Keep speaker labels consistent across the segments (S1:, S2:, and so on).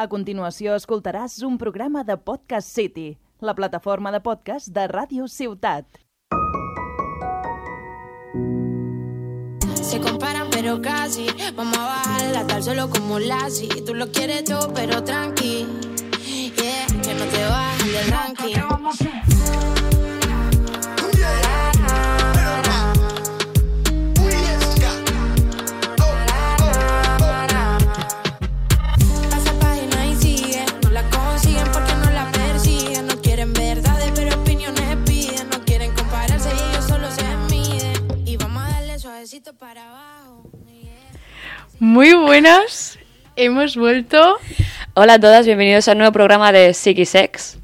S1: A continuació escoltaràs un programa de Podcast City, la plataforma de podcast de Ràdio Ciutat.
S2: Se comparan pero casi, vamos a bajarla tal solo como Lassie. Tú lo quieres todo pero tranqui, yeah, que no te bajes del ranking. Pasa página y sigue, no la consiguen porque no la persiguen. No quieren verdades, pero opiniones piden. No quieren compararse y ellos solo se miden. Y vamos a darle suavecito para abajo.
S3: Muy buenas, hemos vuelto.
S4: Hola a todas, bienvenidos al nuevo programa de Psiqui Sex.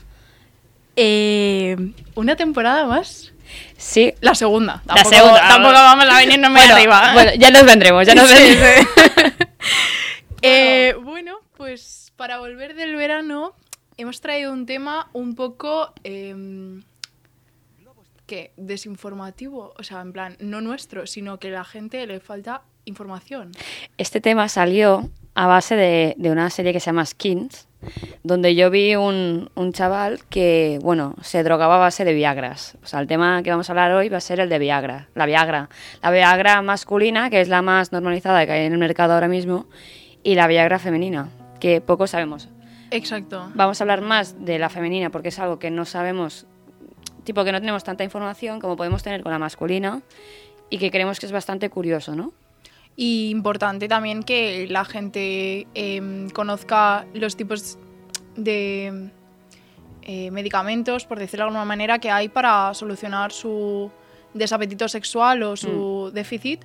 S3: Eh, una temporada más.
S4: Sí,
S3: La segunda.
S4: La
S3: Tampoco-
S4: segunda.
S3: Tampoco vamos a venirnos muy
S4: bueno,
S3: arriba.
S4: bueno, ya nos vendremos, ya nos
S3: Sí,
S4: vendremos.
S3: Eh, bueno, pues para volver del verano hemos traído un tema un poco... eh, ¿Qué? Desinformativo. O sea, en plan, no nuestro, sino que a la gente le falta información.
S4: Este tema salió a base de, de una serie que se llama Skins, donde yo vi un, un chaval que, bueno, se drogaba a base de Viagras. O sea, el tema que vamos a hablar hoy va a ser el de Viagra, la Viagra. La Viagra masculina, que es la más normalizada que hay en el mercado ahora mismo, y la Viagra femenina, que poco sabemos.
S3: Exacto.
S4: Vamos a hablar más de la femenina porque es algo que no sabemos, tipo que no tenemos tanta información como podemos tener con la masculina y que creemos que es bastante curioso, ¿no?
S3: Y importante también que la gente em, conozca los tipos de eh, medicamentos, por decirlo de alguna manera, que hay para solucionar su desapetito sexual o su déficit.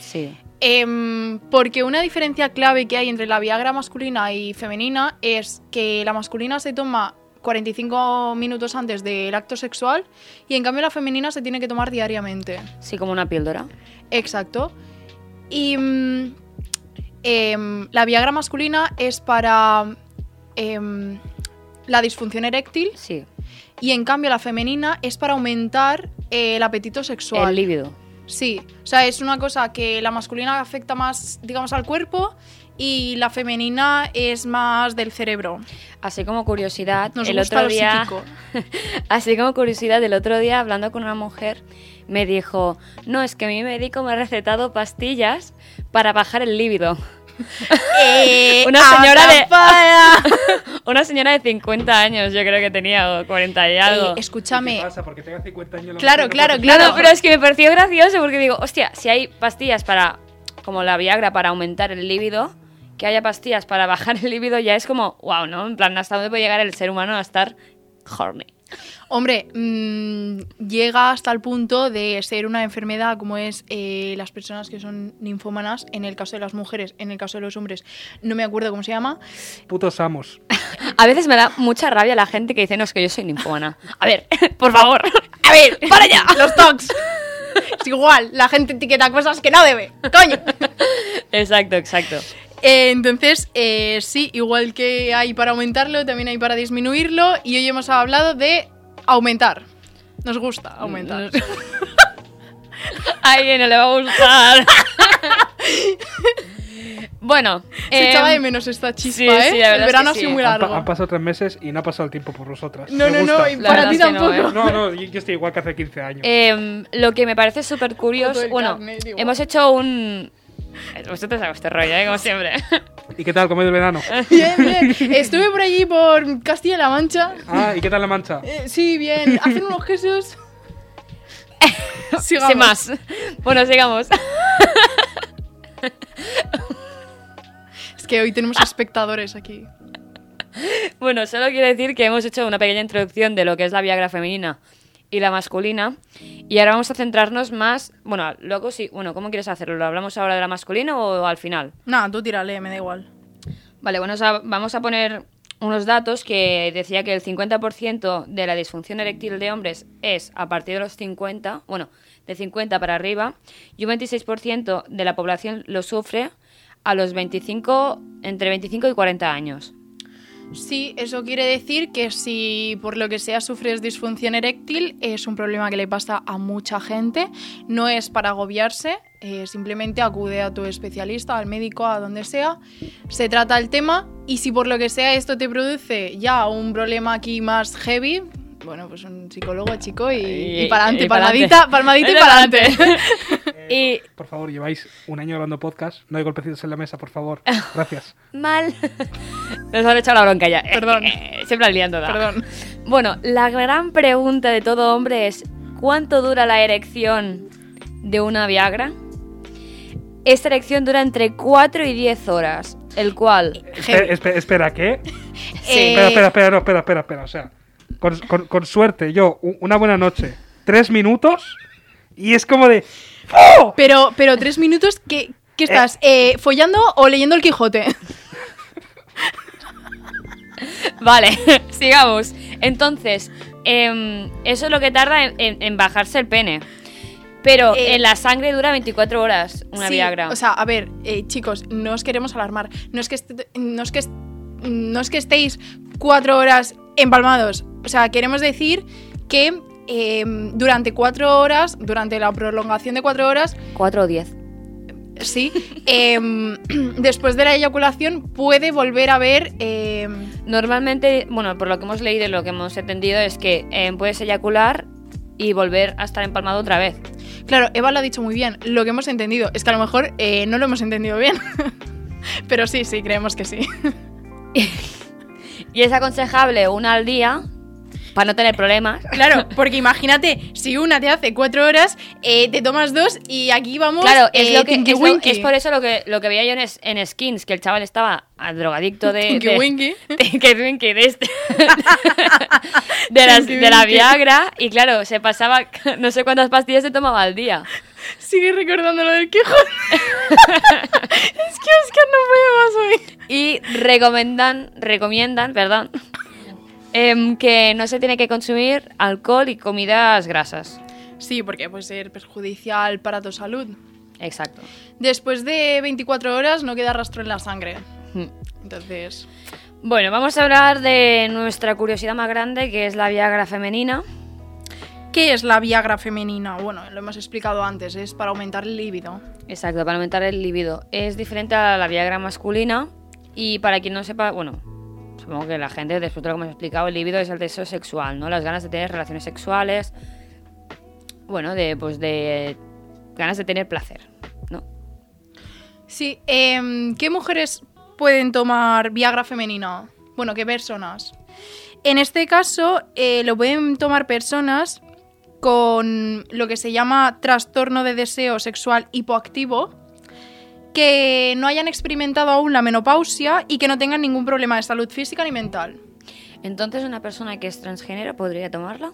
S4: Sí.
S3: Em, porque una diferencia clave que hay entre la Viagra masculina y femenina es que la masculina se toma 45 minutos antes del acto sexual y en cambio la femenina se tiene que tomar diariamente.
S4: Sí, como una píldora.
S3: Exacto. Y mm, em, la Viagra masculina es para em, la disfunción eréctil
S4: Sí.
S3: y en cambio la femenina es para aumentar eh, el apetito
S4: El
S3: sexual.
S4: líbido.
S3: sí, o sea, es una cosa que la masculina afecta más, digamos, al cuerpo y la femenina es más del cerebro.
S4: Así como curiosidad,
S3: Nos
S4: el
S3: gusta
S4: otro
S3: lo
S4: día,
S3: psíquico.
S4: así como curiosidad, el otro día hablando con una mujer me dijo, no, es que mi médico me ha recetado pastillas para bajar el líbido. una señora de una señora de 50 años, yo creo que tenía o 40 y algo.
S3: Eh, escúchame.
S5: ¿Qué pasa? Porque tenga 50 años. la
S3: Claro,
S5: mujer no
S3: claro,
S5: puede-
S4: No, no, pero es que me pareció gracioso porque digo, hostia, si hay pastillas para, como la Viagra, para aumentar el líbido, que haya pastillas para bajar el líbido, ya es como, wow, ¿no? En plan, ¿hasta dónde puede llegar el ser humano a estar horny?
S3: Hombre, mm, llega hasta el punto de ser una enfermedad como es eh, las personas que son ninfómanas, en el caso de las mujeres, en el caso de los hombres, no me acuerdo cómo se llama.
S5: Putos amos.
S4: A veces me da mucha rabia la gente que dice, no, es que yo soy ninfómana. A ver, por favor, a ver, para allá.
S3: Los tox. es igual, la gente etiqueta cosas que no debe, coño.
S4: Exacto, exacto.
S3: Eh, entonces, eh, sí, igual que hay para aumentarlo, también hay para disminuirlo y hoy hemos hablado de aumentar. Nos gusta
S4: Mm,
S3: aumentar.
S4: A alguien no le va a gustar. bueno,
S3: Se
S4: eh,
S3: echaba de menos esta chispa,
S4: sí,
S3: ¿eh?
S4: sí, la
S3: el
S4: verdad es
S3: verano
S4: que
S3: ha sido
S4: sí.
S3: muy
S4: Han
S5: Han,
S3: largo.
S5: pa- han pasado tres meses y no ha pasado el tiempo por vosotras.
S3: No,
S5: Me
S3: no, no,
S5: gusta.
S3: y
S4: La
S3: para
S4: verdad
S3: ti
S4: es que no,
S3: tampoco.
S4: ¿eh?
S5: No, no, yo yo estoy igual que hace 15 años.
S4: Eh, lo que me parece súper curioso,
S3: Foto del
S4: bueno,
S3: carnet, digo.
S4: hemos hecho un... Vosotros hago este rollo, ¿eh? como siempre.
S5: ¿Y qué tal? ¿Cómo ha ido el verano?
S3: Bien, bien. Estuve por allí por Castilla-La Mancha.
S5: Ah, ¿y qué tal la mancha?
S3: Eh, sí, bien. Hacen unos quesos. Sigamos.
S4: Sin más. Bueno, sigamos.
S3: Es que hoy tenemos espectadores aquí.
S4: Bueno, solo quiero decir que hemos hecho una pequeña introducción de lo que es la Viagra femenina y la masculina. Y ahora vamos a centrarnos más... Bueno, luego sí... Bueno, ¿cómo quieres hacerlo? ¿Lo hablamos ahora de la masculina o al final?
S3: Nah, tú tírale, me da igual.
S4: Vale, bueno, o sea, vamos a poner unos datos que decía que el 50% de la disfunción eréctil de hombres es a partir de los 50, bueno, de 50 para arriba, y un 26% de la población lo sufre a los 25, entre 25 y 40 años.
S3: Sí, eso quiere decir que si por lo que sea sufres disfunción eréctil, es un problema que le pasa a mucha gente. No es para agobiarse, eh, simplemente acude a tu especialista, al médico, a donde sea. Se trata el tema Y si por lo que sea esto te produce ya un problema aquí más heavy, bueno, pues un psicólogo, chico, y,
S4: Y-
S3: y para adelante,
S4: y pa'lante.
S3: palmadita, palmadita y para adelante. eh.
S4: Y
S5: Eh, Por favor, lleváis un año grabando podcast. No hay golpecitos en la mesa, por favor.
S3: Eh.
S5: Gracias.
S4: mal. Nos han echado la bronca ya.
S3: Perdón.
S4: Siempre la liando, da.
S3: Perdón.
S4: Bueno, la gran pregunta de todo hombre es: ¿cuánto dura la erección de una Viagra? Esta erección dura entre 4 y 10 horas, el cual.
S5: Espera, espera, espera, ¿qué?
S3: Eh,
S5: Espera, espera, espera, no, espera, espera, espera. O sea, con, con- con suerte, yo, u- una buena noche, tres minutos y es como de. ¡Oh!
S3: Pero, pero tres minutos, ¿qué, qué estás? Eh, ¿Follando o leyendo el Quijote?
S4: Vale, sigamos. Entonces, em, eso es lo que tarda en, en- en bajarse el pene. Pero
S3: Eh,
S4: en la sangre dura 24 horas una
S3: Sí,
S4: Viagra.
S3: O sea, a ver, eh, chicos, no os queremos alarmar. No es que, est- no es que, est- no es que estéis cuatro horas empalmados. O sea, queremos decir que eh, durante cuatro horas, durante la prolongación de cuatro horas,
S4: 4 o 10.
S3: sí, em, después de la eyaculación puede volver a haber. em,
S4: Normalmente, bueno, por lo que hemos leído y lo que hemos entendido es que em, puedes eyacular y volver a estar empalmado otra vez.
S3: Claro, Eva lo ha dicho muy bien. Lo que hemos entendido es que a lo mejor eh, no lo hemos entendido bien. Pero sí, sí, creemos que sí.
S4: Y es aconsejable una al día para no tener problemas.
S3: Claro, porque imagínate, si una te hace cuatro horas, eh, te tomas dos y aquí vamos.
S4: Claro, es,
S3: eh,
S4: lo que,
S3: tinky
S4: es, lo-
S3: winky.
S4: es por eso lo que, lo que veía yo en, es- en Skins, que el chaval estaba a- drogadicto de...
S3: Tinky
S4: de-
S3: winky.
S4: Tinky Winky, de, este- de, las-
S3: Tinky
S4: de la
S3: Winky.
S4: Viagra y claro, se pasaba no sé cuántas pastillas se tomaba al día.
S3: Sigue recordando lo del Quijote. es que Oscar no puede más hoy.
S4: Y recomiendan, recomiendan, perdón, em, que no se tiene que consumir alcohol y comidas grasas.
S3: Sí, porque puede ser perjudicial para tu salud.
S4: Exacto.
S3: Después de 24 horas no queda rastro en la sangre.
S4: Mm.
S3: Entonces,
S4: Bueno, vamos a hablar de nuestra curiosidad más grande, que es la Viagra femenina.
S3: ¿qué es la Viagra femenina? Bueno, lo hemos explicado antes, es para aumentar el líbido.
S4: Exacto, para aumentar el libido. Es diferente a la Viagra masculina y para quien no sepa, bueno, supongo que la gente, después de lo que hemos explicado, el libido es el deseo sexual, ¿no? Las ganas de tener relaciones sexuales, bueno, de pues de ganas de tener placer, ¿no?
S3: Sí, em, ¿qué mujeres pueden tomar Viagra femenina? Bueno, ¿qué personas? En este caso, eh, lo pueden tomar personas con lo que se llama trastorno de deseo sexual hipoactivo, que no hayan experimentado aún la menopausia y que no tengan ningún problema de salud física ni mental.
S4: Entonces, una persona que es transgénero podría tomarla?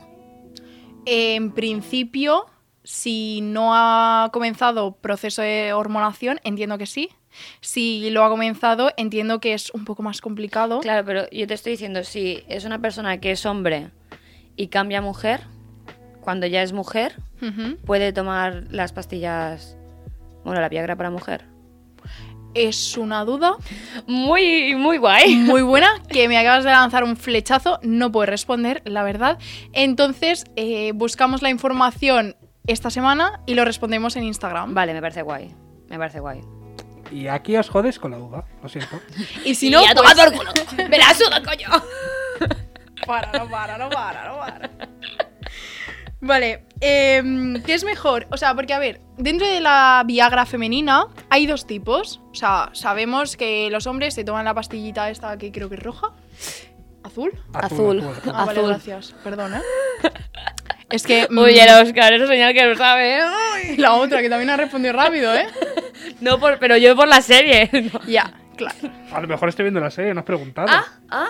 S3: En principio, si no ha comenzado proceso de hormonación, entiendo que sí. Si lo ha comenzado, entiendo que es un poco más complicado.
S4: Claro, pero yo te estoy diciendo, si es una persona que es hombre y cambia a mujer, cuando ya es mujer,
S3: Ujú.
S4: puede tomar las pastillas, bueno, la Viagra para mujer.
S3: Es una duda
S4: Muy, muy guay.
S3: muy buena que me acabas de lanzar un flechazo. No puedo responder, la verdad. Entonces, eh, buscamos la información esta semana y lo respondemos en Instagram.
S4: Vale, me parece guay. Me parece guay.
S5: Y aquí os jodéis con la duda, lo siento.
S3: Y si no,
S4: y a
S3: pues-
S4: tomar por culo. Me la suda, coño.
S3: Para, no para, no para, no para. Vale, em, ¿qué es mejor? O sea, porque a ver, dentro de la Viagra femenina hay dos tipos. O sea, sabemos que los hombres se toman la pastillita esta que creo que es roja, azul.
S4: Azul.
S3: Ah, vale,
S4: Azul.
S3: gracias. Perdón, ¿eh? Es que. mm,
S4: Uy, el Oscar, es señal que lo sabe. ¿eh?
S3: La otra, que también ha respondido rápido, ¿eh?
S4: No, por, pero yo por la serie.
S3: Ya, claro.
S5: A lo mejor estoy viendo la serie, no has preguntado.
S4: Ah, ah.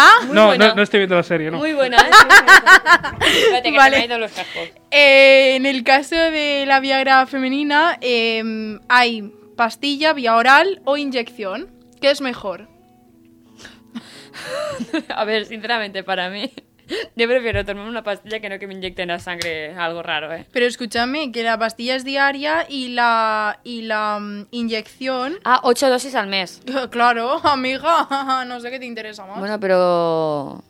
S3: Ah,
S4: muy
S5: no,
S4: buena.
S5: no, no estoy viendo la serie, no.
S4: Muy buena. ¿eh? Espérate, que
S3: Vale.
S4: se me han ido los cascos.
S3: Eh, en el caso de la Viagra femenina, em, hay pastilla, vía oral o inyección. ¿Qué es mejor?
S4: A ver, sinceramente, para mí, yo prefiero tomarme una pastilla que no que me inyecten la sangre algo raro, ¿eh?
S3: Pero escúchame, que la pastilla es diaria y la, y la mm, inyección.
S4: Ah, ocho dosis al mes.
S3: Claro, amiga, no sé qué te interesa más.
S4: Bueno, pero...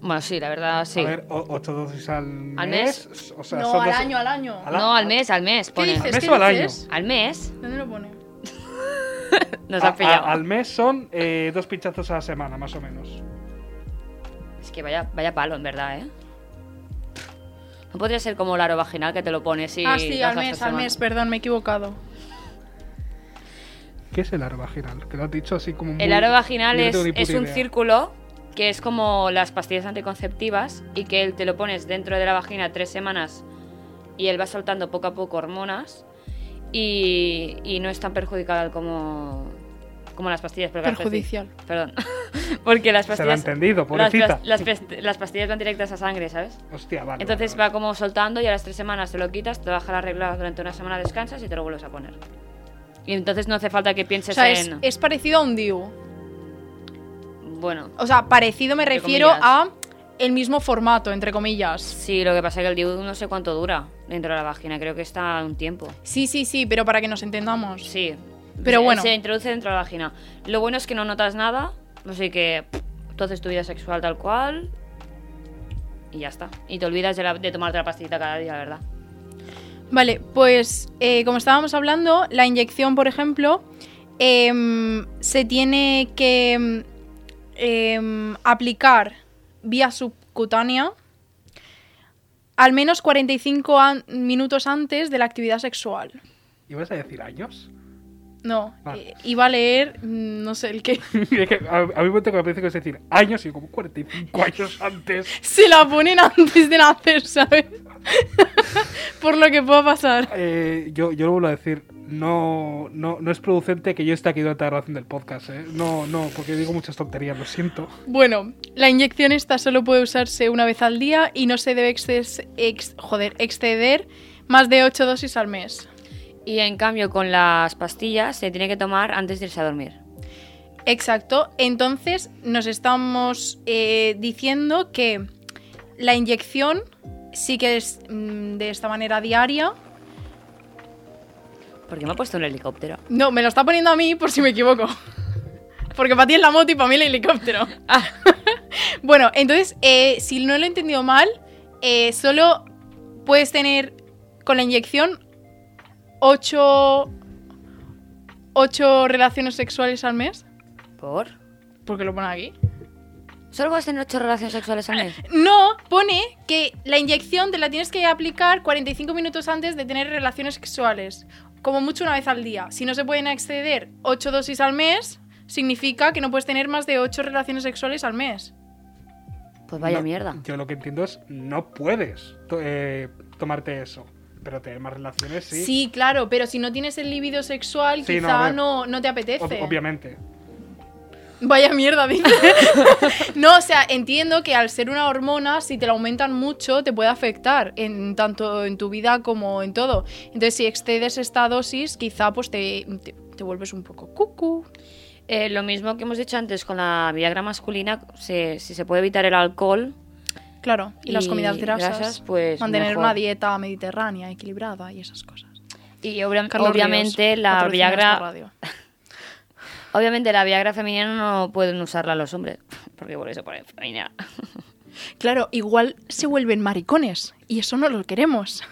S4: Bueno, sí, la verdad, sí.
S5: A ver, o- ocho dosis al mes.
S4: ¿Al
S5: O sea,
S3: no,
S5: son
S3: al
S5: dos-
S3: año, al año.
S5: Al-
S4: No, al mes, al mes,
S3: ¿Qué
S4: pone.
S3: dices?
S5: mes
S3: ¿Qué
S5: o al año?
S3: dices?
S4: ¿Al mes?
S3: ¿Dónde lo pone?
S4: Nos
S5: A-
S4: han pillado.
S5: a- al mes son eh, dos pinchazos a la semana, más o menos.
S4: Es que vaya, vaya palo, en verdad, ¿eh? No podría ser como la aro vaginal que te lo pones y.
S3: ah, sí,
S4: das
S3: al
S4: la
S3: mes, al
S4: semana.
S3: mes, perdón, me he equivocado.
S5: ¿Qué es el aro vaginal? Que lo has dicho así como. muy-
S4: El aro vaginal
S5: yo no
S4: es,
S5: tengo ni puta
S4: es un
S5: idea.
S4: círculo que es como las pastillas anticonceptivas y que él te lo pones dentro de la vagina tres semanas y él va soltando poco a poco hormonas y, y no es tan perjudicial como, como las pastillas. pero las
S3: Perjudicial.
S4: pastillas- Perdón. Porque las
S5: Se lo ha
S4: pastillas...
S5: entendido,
S4: las,
S5: pobrecita.
S4: pas- las past- las pastillas van directas a sangre, ¿sabes?
S5: Hostia, vale.
S4: Entonces
S5: vale,
S4: va como soltando y a las tres semanas te lo quitas, te baja la regla durante una semana, descansas y te lo vuelves a poner. Y entonces no hace falta que
S3: O
S4: pienses
S3: sea, es,
S4: en...
S3: es parecido a un DIU.
S4: Bueno,
S3: O sea, parecido me
S4: Entre
S3: refiero
S4: comillas.
S3: a el mismo formato, entre comillas.
S4: Sí, lo que pasa es que el DIU no sé cuánto dura dentro de la vagina, creo que está un tiempo.
S3: Sí, sí, sí, pero para que nos entendamos.
S4: Sí.
S3: Pero
S4: Se-
S3: bueno.
S4: Se introduce dentro de la vagina. Lo bueno es que no notas nada, así que pff, tú haces tu vida sexual tal cual y ya está. Y te olvidas de, la- de tomarte la pastillita cada día, la verdad.
S3: Vale, pues eh, como estábamos hablando, la inyección, por ejemplo, em, se tiene que em, em, aplicar vía subcutánea al menos 45 an- minutos antes de la actividad sexual.
S5: vale. ¿Y vas a decir años?
S3: No,
S5: Ah.
S3: eh, iba a leer, mm, no sé el qué.
S5: es que a, a mí me tengo que decir decir años y como 45 años antes.
S3: Se la ponen antes de nacer, ¿sabes? por lo que pueda pasar.
S5: Eh, yo, yo lo vuelvo a decir, no, no, no es producente que yo esté aquí durante la grabación del podcast, ¿eh? No, no, porque digo muchas tonterías, lo siento.
S3: Bueno, la inyección esta solo puede usarse una vez al día y no se debe exces- ex- joder, exceder más de 8 dosis al mes.
S4: Y en cambio con las pastillas se tiene que tomar antes de irse a dormir.
S3: Exacto, entonces nos estamos eh, diciendo que la inyección sí que es mm, de esta manera diaria.
S4: ¿Por qué me ha puesto un helicóptero?
S3: No, me lo está poniendo a mí por si me equivoco. Porque para ti es la moto y para mí el helicóptero. bueno, entonces, eh, si no lo he entendido mal, eh, solo puedes tener con la inyección 8, relaciones sexuales al mes.
S4: ¿Por?
S3: Porque lo pone aquí.
S4: ¿Solo vas a tener ocho relaciones sexuales al mes?
S3: No, pone que la inyección te la tienes que aplicar 45 minutos antes de tener relaciones sexuales, como mucho una vez al día. Si no se pueden exceder 8 dosis al mes, significa que no puedes tener más de 8 relaciones sexuales al mes.
S4: Pues vaya
S5: No,
S4: mierda.
S5: Yo lo que entiendo es no puedes to- eh, tomarte eso, pero tener más relaciones sí.
S3: Sí, claro, pero si no tienes el libido sexual,
S5: Sí, no, a
S3: quizá
S5: ver.
S3: no, no, te apetece.
S5: Ob- obviamente.
S3: Vaya mierda, dice. no, o sea, entiendo que al ser una hormona, si te la aumentan mucho, te puede afectar, en tanto en tu vida como en todo. Entonces, si excedes esta dosis, quizá pues te, te, te vuelves un poco cucu.
S4: Eh, lo mismo que hemos dicho antes con la Viagra masculina, se- si se puede evitar el alcohol,
S3: Claro, y, las
S4: Y
S3: comidas grasas,
S4: grasas, pues,
S3: mantener
S4: mejor.
S3: una dieta mediterránea, equilibrada y esas cosas.
S4: Y obvia-
S3: Carlos
S4: obviamente
S3: Ríos,
S4: la
S3: patrocina esta
S4: Viagra,
S3: radio.
S4: obviamente la Viagra femenina no pueden usarla los hombres, porque por eso ponen femenina.
S3: Claro, igual se vuelven maricones y eso no lo queremos.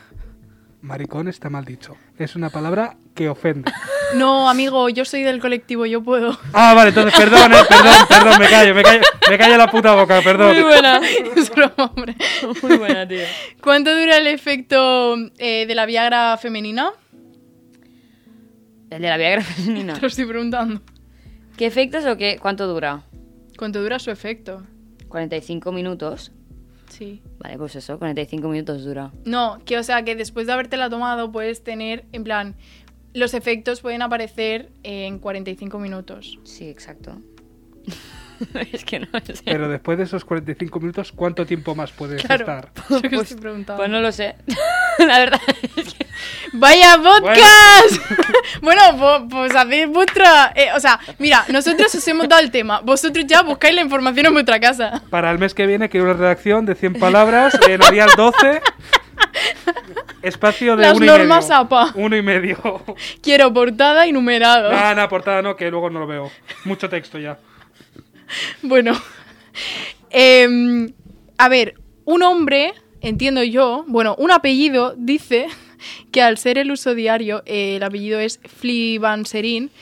S5: Maricón está mal dicho. Es una palabra que ofende.
S3: No, amigo, yo soy del colectivo, yo puedo.
S5: Ah, vale, entonces, perdón, eh, perdón, perdón, me callo, me callo, me callo la puta boca, perdón.
S4: buena,
S3: Es broma, hombre.
S4: muy buena, tío.
S3: ¿Cuánto dura el efecto eh, de la Viagra femenina?
S4: El de la Viagra femenina.
S3: Te lo estoy preguntando.
S4: ¿Qué efectos o qué? ¿Cuánto dura?
S3: ¿Cuánto dura su efecto?
S4: 45 minutos.
S3: Sí.
S4: Vale, pues eso, 45 minutos dura.
S3: No, que o sea que después de habértela tomado puedes tener, en plan, los efectos pueden aparecer en 45 minutos.
S4: Sí, exacto. es que no sé.
S5: Pero después de esos 45 minutos, ¿cuánto tiempo más puedes
S3: Claro.
S5: estar?
S3: Yo que
S4: Pues-
S3: estoy preguntando.
S4: Pues no lo sé. la verdad es que...
S3: ¡Vaya podcast! Bueno, po- pues hacéis vuestra. eh, o sea, mira, nosotros os hemos dado el tema. Vosotros ya buscáis la información en vuestra casa.
S5: Para el mes que viene quiero una redacción de 100 palabras en Arial 12. Espacio de
S3: Las
S5: uno
S3: normas
S5: y medio.
S3: APA.
S5: Uno y medio.
S3: Quiero portada y numerado.
S5: Nada, nada, portada no, que luego no lo veo. Mucho texto ya.
S3: Bueno, em, a ver, un hombre, entiendo yo, bueno, un apellido dice que al ser el uso diario, eh, el apellido es Flibanserin,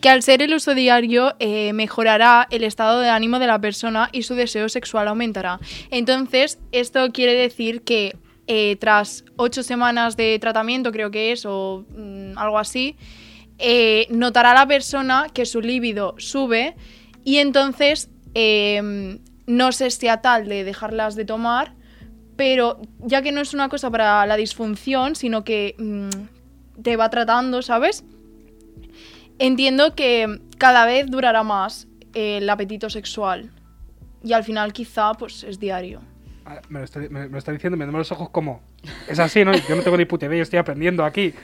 S3: que al ser el uso diario eh, mejorará el estado de ánimo de la persona y su deseo sexual aumentará. Entonces, esto quiere decir que eh, tras ocho semanas de tratamiento, creo que es, o mm, algo así, eh, notará la persona que su líbido sube y entonces eh, no se sea tal de dejarlas de tomar, pero ya que no es una cosa para la disfunción, sino que mm, te va tratando, ¿sabes? Entiendo que cada vez durará más eh, el apetito sexual y al final quizá pues es diario.
S5: Ah, Me lo, está, me- me lo está diciendo mirando los ojos como... Es así, ¿no? Yo no tengo ni puta idea, yo estoy aprendiendo aquí.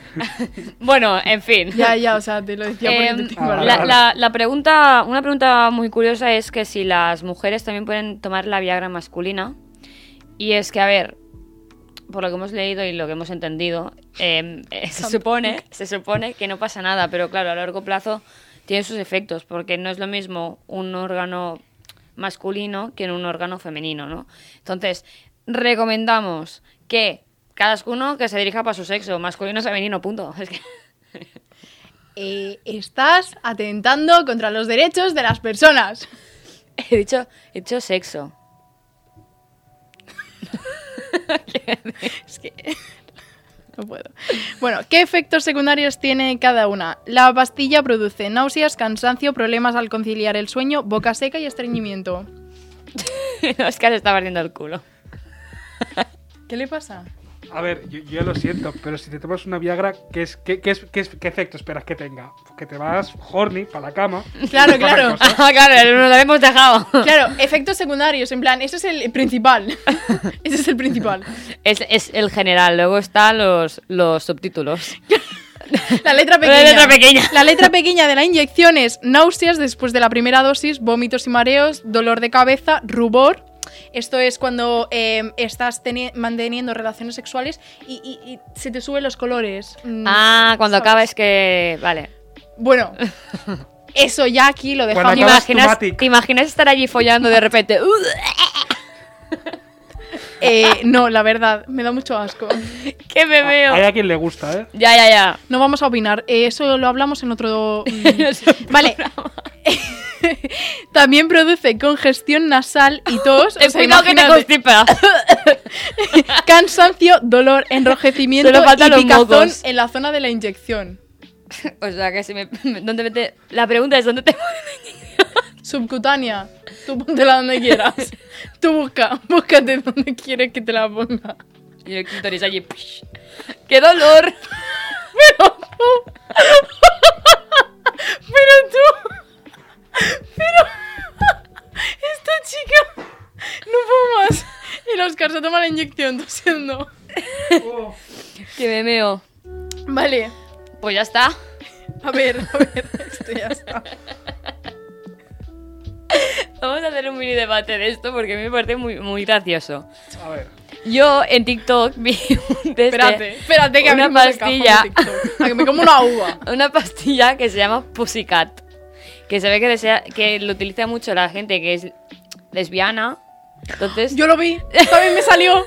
S4: Bueno, en fin.
S3: Ya, ya, o sea, te lo decía por
S4: Em,
S3: intentar
S5: Ah,
S3: embarazar.
S5: vale,
S4: la,
S5: vale.
S4: la- la pregunta, una pregunta muy curiosa es que si las mujeres también pueden tomar la Viagra masculina. Y es que, a ver, por lo que hemos leído y lo que hemos entendido, em, eh, se, supone, se supone que no pasa nada, pero claro, a largo plazo tiene sus efectos, porque no es lo mismo un órgano masculino que en un órgano femenino, ¿no? Entonces, recomendamos que cada uno que se dirija para su sexo, masculino, femenino, punto. Es que...
S3: Eh, estás atentando contra los derechos de las personas.
S4: He dicho, he dicho sexo.
S3: No puedo. Bueno, ¿qué efectos secundarios tiene cada una? La pastilla produce náuseas, cansancio, problemas al conciliar el sueño, boca seca y estreñimiento.
S4: Oscar está barriendo el culo.
S3: ¿Qué le pasa?
S5: A ver, yo, yo lo siento, pero si te tomas una Viagra, ¿qué, es, qué, qué es, qué, es- qué efecto esperas que tenga? Que te vas horny para la cama.
S3: Claro, claro.
S4: Ah, claro, nos lo hemos dejado.
S3: Claro, efectos secundarios, en plan, ese es el principal. Ese es el principal.
S4: Es, es el general, luego están los, los subtítulos.
S3: La letra pequeña.
S4: letra pequeña.
S3: La letra pequeña de la inyección es náuseas después de la primera dosis, vómitos y mareos, dolor de cabeza, rubor. Esto es cuando eh, estás teni- manteniendo relaciones sexuales y, y- y se te suben los colores. Mm,
S4: Ah, cuando
S3: ¿sabes?
S4: acaba es que... Vale.
S3: Bueno, eso ya aquí lo
S5: Cuando
S3: dejamos.
S4: ¿Te
S5: acabas
S4: imaginas,
S5: tu Matic.
S4: te imaginas estar allí follando de repente?
S3: Eh, no, la verdad, me da mucho asco.
S4: ¡Qué me veo!
S5: Ah, Hay a quien le gusta, ¿eh?
S4: Ya, ya, ya.
S3: No vamos a opinar, eh, eso lo hablamos en otro... mm, vale. También produce congestión nasal y tos. o sea,
S4: Ten cuidado que te
S3: imagínate.
S4: constipa.
S3: Cansancio, dolor, enrojecimiento
S4: Solo faltan
S3: y
S4: los
S3: picazón
S4: mocos.
S3: en la zona de la inyección.
S4: O sea, que si me... ¿dónde me te- La pregunta es, ¿dónde te...
S3: Subcutánea, tú póntela donde quieras. Tú busca, búscate donde quieres que te la ponga.
S4: Y el clítoris allí. psh. ¡Qué dolor!
S3: Pero tú. Pero tú. Pero. Esta chica. No puedo más. Y los Oscar se toma la inyección tosiendo.
S4: ¡Que me meo!
S3: Vale.
S4: Pues ya está.
S3: A ver, a ver. Esto ya está.
S4: Vamos a hacer un mini debate de esto porque a mí me parece muy, muy gracioso.
S5: A ver.
S4: Yo en TikTok vi un de este-
S3: Espérate, espérate que
S4: una
S3: abrimos el cajón de
S4: pastilla.
S3: TikTok. A que me como una uva.
S4: una pastilla que se llama Pussycat. Que se ve que, desea, que lo utiliza mucho la gente que es lesbiana. Entonces,
S3: Yo lo vi. También me salió.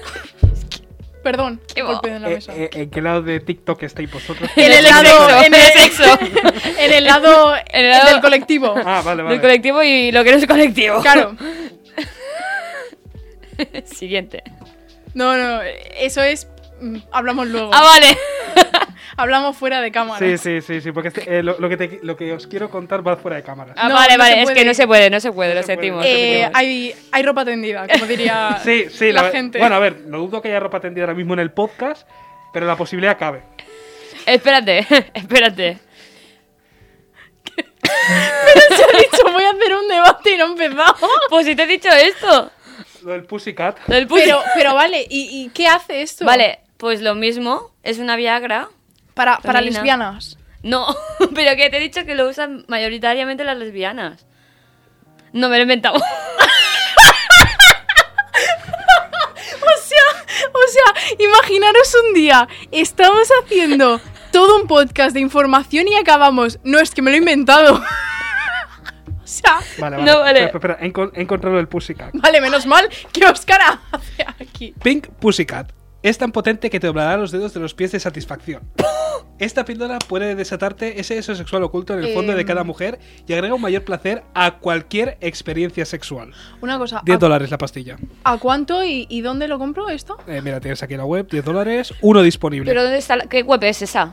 S3: Perdón,
S4: Qué bo-
S3: golpe de la
S5: Eh,
S3: mesa.
S5: eh, ¿En qué lado de TikTok estáis vosotros?
S4: En el sexo, en el sexo.
S3: en el lado,
S4: En el lado-
S3: del colectivo.
S5: Ah, vale,
S4: del
S5: vale.
S4: colectivo y lo que no es colectivo.
S3: Claro.
S4: Siguiente.
S3: No, no, eso es. mm, Hablamos luego.
S4: Ah, vale.
S3: Hablamos fuera de cámara.
S5: Sí, sí, sí, sí, porque este- eh, lo, lo que te- lo que os quiero contar va fuera de cámara.
S4: Ah,
S3: No,
S4: vale,
S3: no
S4: vale.
S3: se
S4: es que
S3: puede.
S4: no se puede, no se puede, lo
S5: se puede.
S4: sentimos. lo
S3: Eh,
S4: sentimos.
S3: hay, hay ropa tendida, como diría
S5: Sí, sí,
S3: la,
S5: ve-
S3: gente.
S5: Bueno, a ver, no dudo que haya ropa tendida ahora mismo en el podcast, pero la posibilidad cabe.
S4: Espérate, espérate.
S3: Te he dicho, voy a hacer un debate y no empezamos.
S4: Pues si te he dicho esto.
S5: Lo del Pussycat.
S4: Del pussy-
S3: Pero, pero vale, ¿y, y qué hace esto?
S4: Vale, pues lo mismo. Es una Viagra.
S3: Para, para
S4: Femenina.
S3: lesbianas.
S4: No, pero que te he dicho que lo usan mayoritariamente las lesbianas. No me lo he inventado.
S3: O sea, o sea, imaginaros un día, estamos haciendo todo un podcast de información y acabamos. No, es que me lo he inventado. o sea,
S5: Vale,
S4: No,
S5: vale.
S4: vale.
S5: Espera, espera, he, encon- he encontrado el Pussycat.
S3: vale, menos mal que Oscar hace aquí.
S5: Pink Pussycat. Es tan potente que te doblará los dedos de los pies de satisfacción. Esta píldora puede desatarte ese deseo sexual oculto en el fondo de
S3: Em.
S5: cada mujer y agrega un mayor placer a cualquier experiencia sexual.
S3: Una cosa,
S4: Ah.
S5: 10
S3: ¿a,
S5: dólares la pastilla.
S3: a cuánto y, y dónde lo compro esto?
S5: Eh, mira, tienes aquí la web, 10 dólares, uno disponible.
S4: ¿Pero dónde está la- ¿Qué web es esa?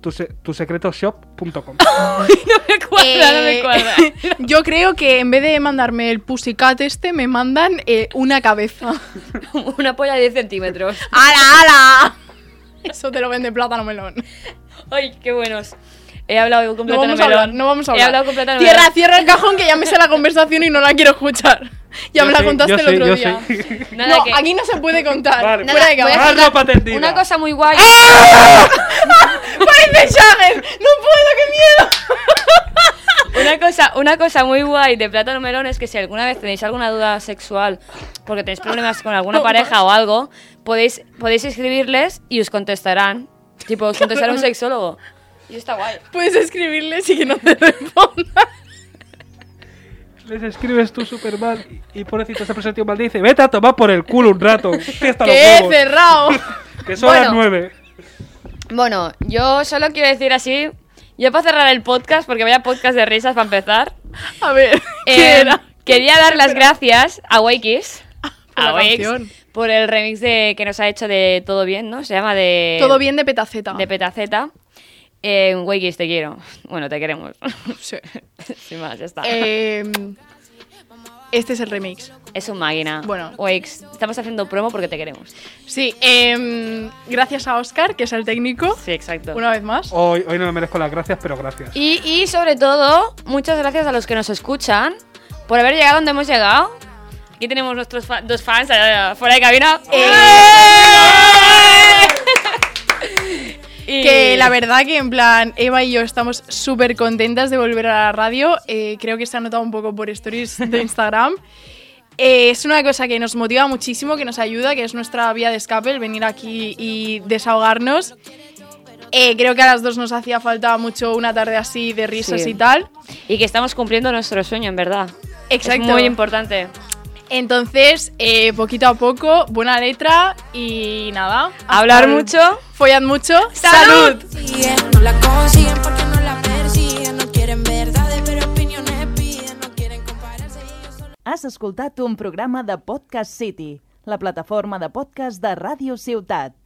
S5: Tu, se- tusecretoshop.com.
S4: No me cuadra, no me
S3: Eh,
S4: cuadra.
S3: Yo creo que en vez de mandarme el pussycat este, me mandan eh, una cabeza.
S4: Una polla de 10 centímetros.
S3: ¡Hala, hala! Eso te lo vende plátano melón.
S4: Ay, qué buenos. He hablado
S3: No
S4: completamente.
S3: vamos a hablar, no vamos a hablar.
S4: He hablado completamente.
S3: Cierra, cierra el cajón que ya me sé la conversación y no la quiero escuchar. Ya
S5: Yo
S3: me la
S5: sé,
S3: contaste
S5: yo
S3: el
S5: sé,
S3: otro
S5: yo
S3: día.
S5: sé.
S4: Nada,
S3: no,
S4: que-
S3: aquí no se puede contar.
S5: Vale.
S4: nada,
S3: Fuera de
S4: voy a
S3: cámara.
S5: cámara.
S4: contar
S5: Barba tendida.
S4: Una cosa muy guay.
S3: ¡Ay, mensajes! ¡No puedo, qué miedo!
S4: Una cosa, una cosa muy guay de plátano melón es que si alguna vez tenéis alguna duda sexual, porque tenéis problemas con alguna pareja o algo, podéis, podéis escribirles y os contestarán. Tipo, os contestará un sexólogo. Y está guay.
S3: Puedes escribirles y que no te respondan.
S5: Les escribes tú Superman y y pobrecito esta persona tío maldice. Vete a tomar por el culo un rato. Que hasta los
S3: ¡Que he
S5: huevos,
S3: cerrado!
S5: Que son las
S4: Bueno.
S5: 9.
S4: Bueno, yo solo quiero decir así, ya para cerrar el podcast, porque vaya podcast de risas para empezar.
S3: A ver, ¿qué
S4: Eh,
S3: era?
S4: Quería dar las gracias a Wakis.
S3: Por la
S4: A Wakis.
S3: canción.
S4: Por el remix de, que nos ha hecho de Todo Bien, ¿no? Se llama de.
S3: Todo bien de petaceta.
S4: De Petaceta. Eh, Wakis, te quiero. Bueno, te queremos.
S3: Sí.
S4: Sin más, ya está.
S3: Eh, este es el remix.
S4: es un máquina.
S3: bueno.
S4: Wakis, estamos haciendo promo porque te queremos.
S3: Sí, em, gracias a Oscar, que es el técnico,
S4: Sí, exacto.
S3: una vez más.
S5: Hoy, hoy no me merezco las gracias, pero gracias.
S4: Y, y sobre todo, muchas gracias a los que nos escuchan por haber llegado donde hemos llegado. Aquí tenemos nuestros fa- dos fans eh, fuera de cabina. Y-
S3: Que la verdad que en plan, Eva y yo estamos súper contentas de volver a la radio. Eh, creo que se ha notado un poco por stories de Instagram. Eh, es una cosa que nos motiva muchísimo, que nos ayuda, que es nuestra vía de escape, el venir aquí y desahogarnos. Eh, creo que a las dos nos hacía falta mucho una tarde así de risas
S4: Sí.
S3: y tal.
S4: y que estamos cumpliendo nuestro sueño, en verdad.
S3: Exacto.
S4: Es muy importante.
S3: Entonces, eh, poquito a poco, buena letra y nada. hasta
S4: Hablar
S3: el-
S4: mucho.
S3: Follad mucho.
S4: ¡Salud!
S2: consiguen, no la consiguen porque no la persiguen, no quieren verdades, pero opiniones piden, no quieren compararse y ellos solo
S1: Has escoltat un programa de Podcast City, la plataforma de podcast de Ràdio Ciutat.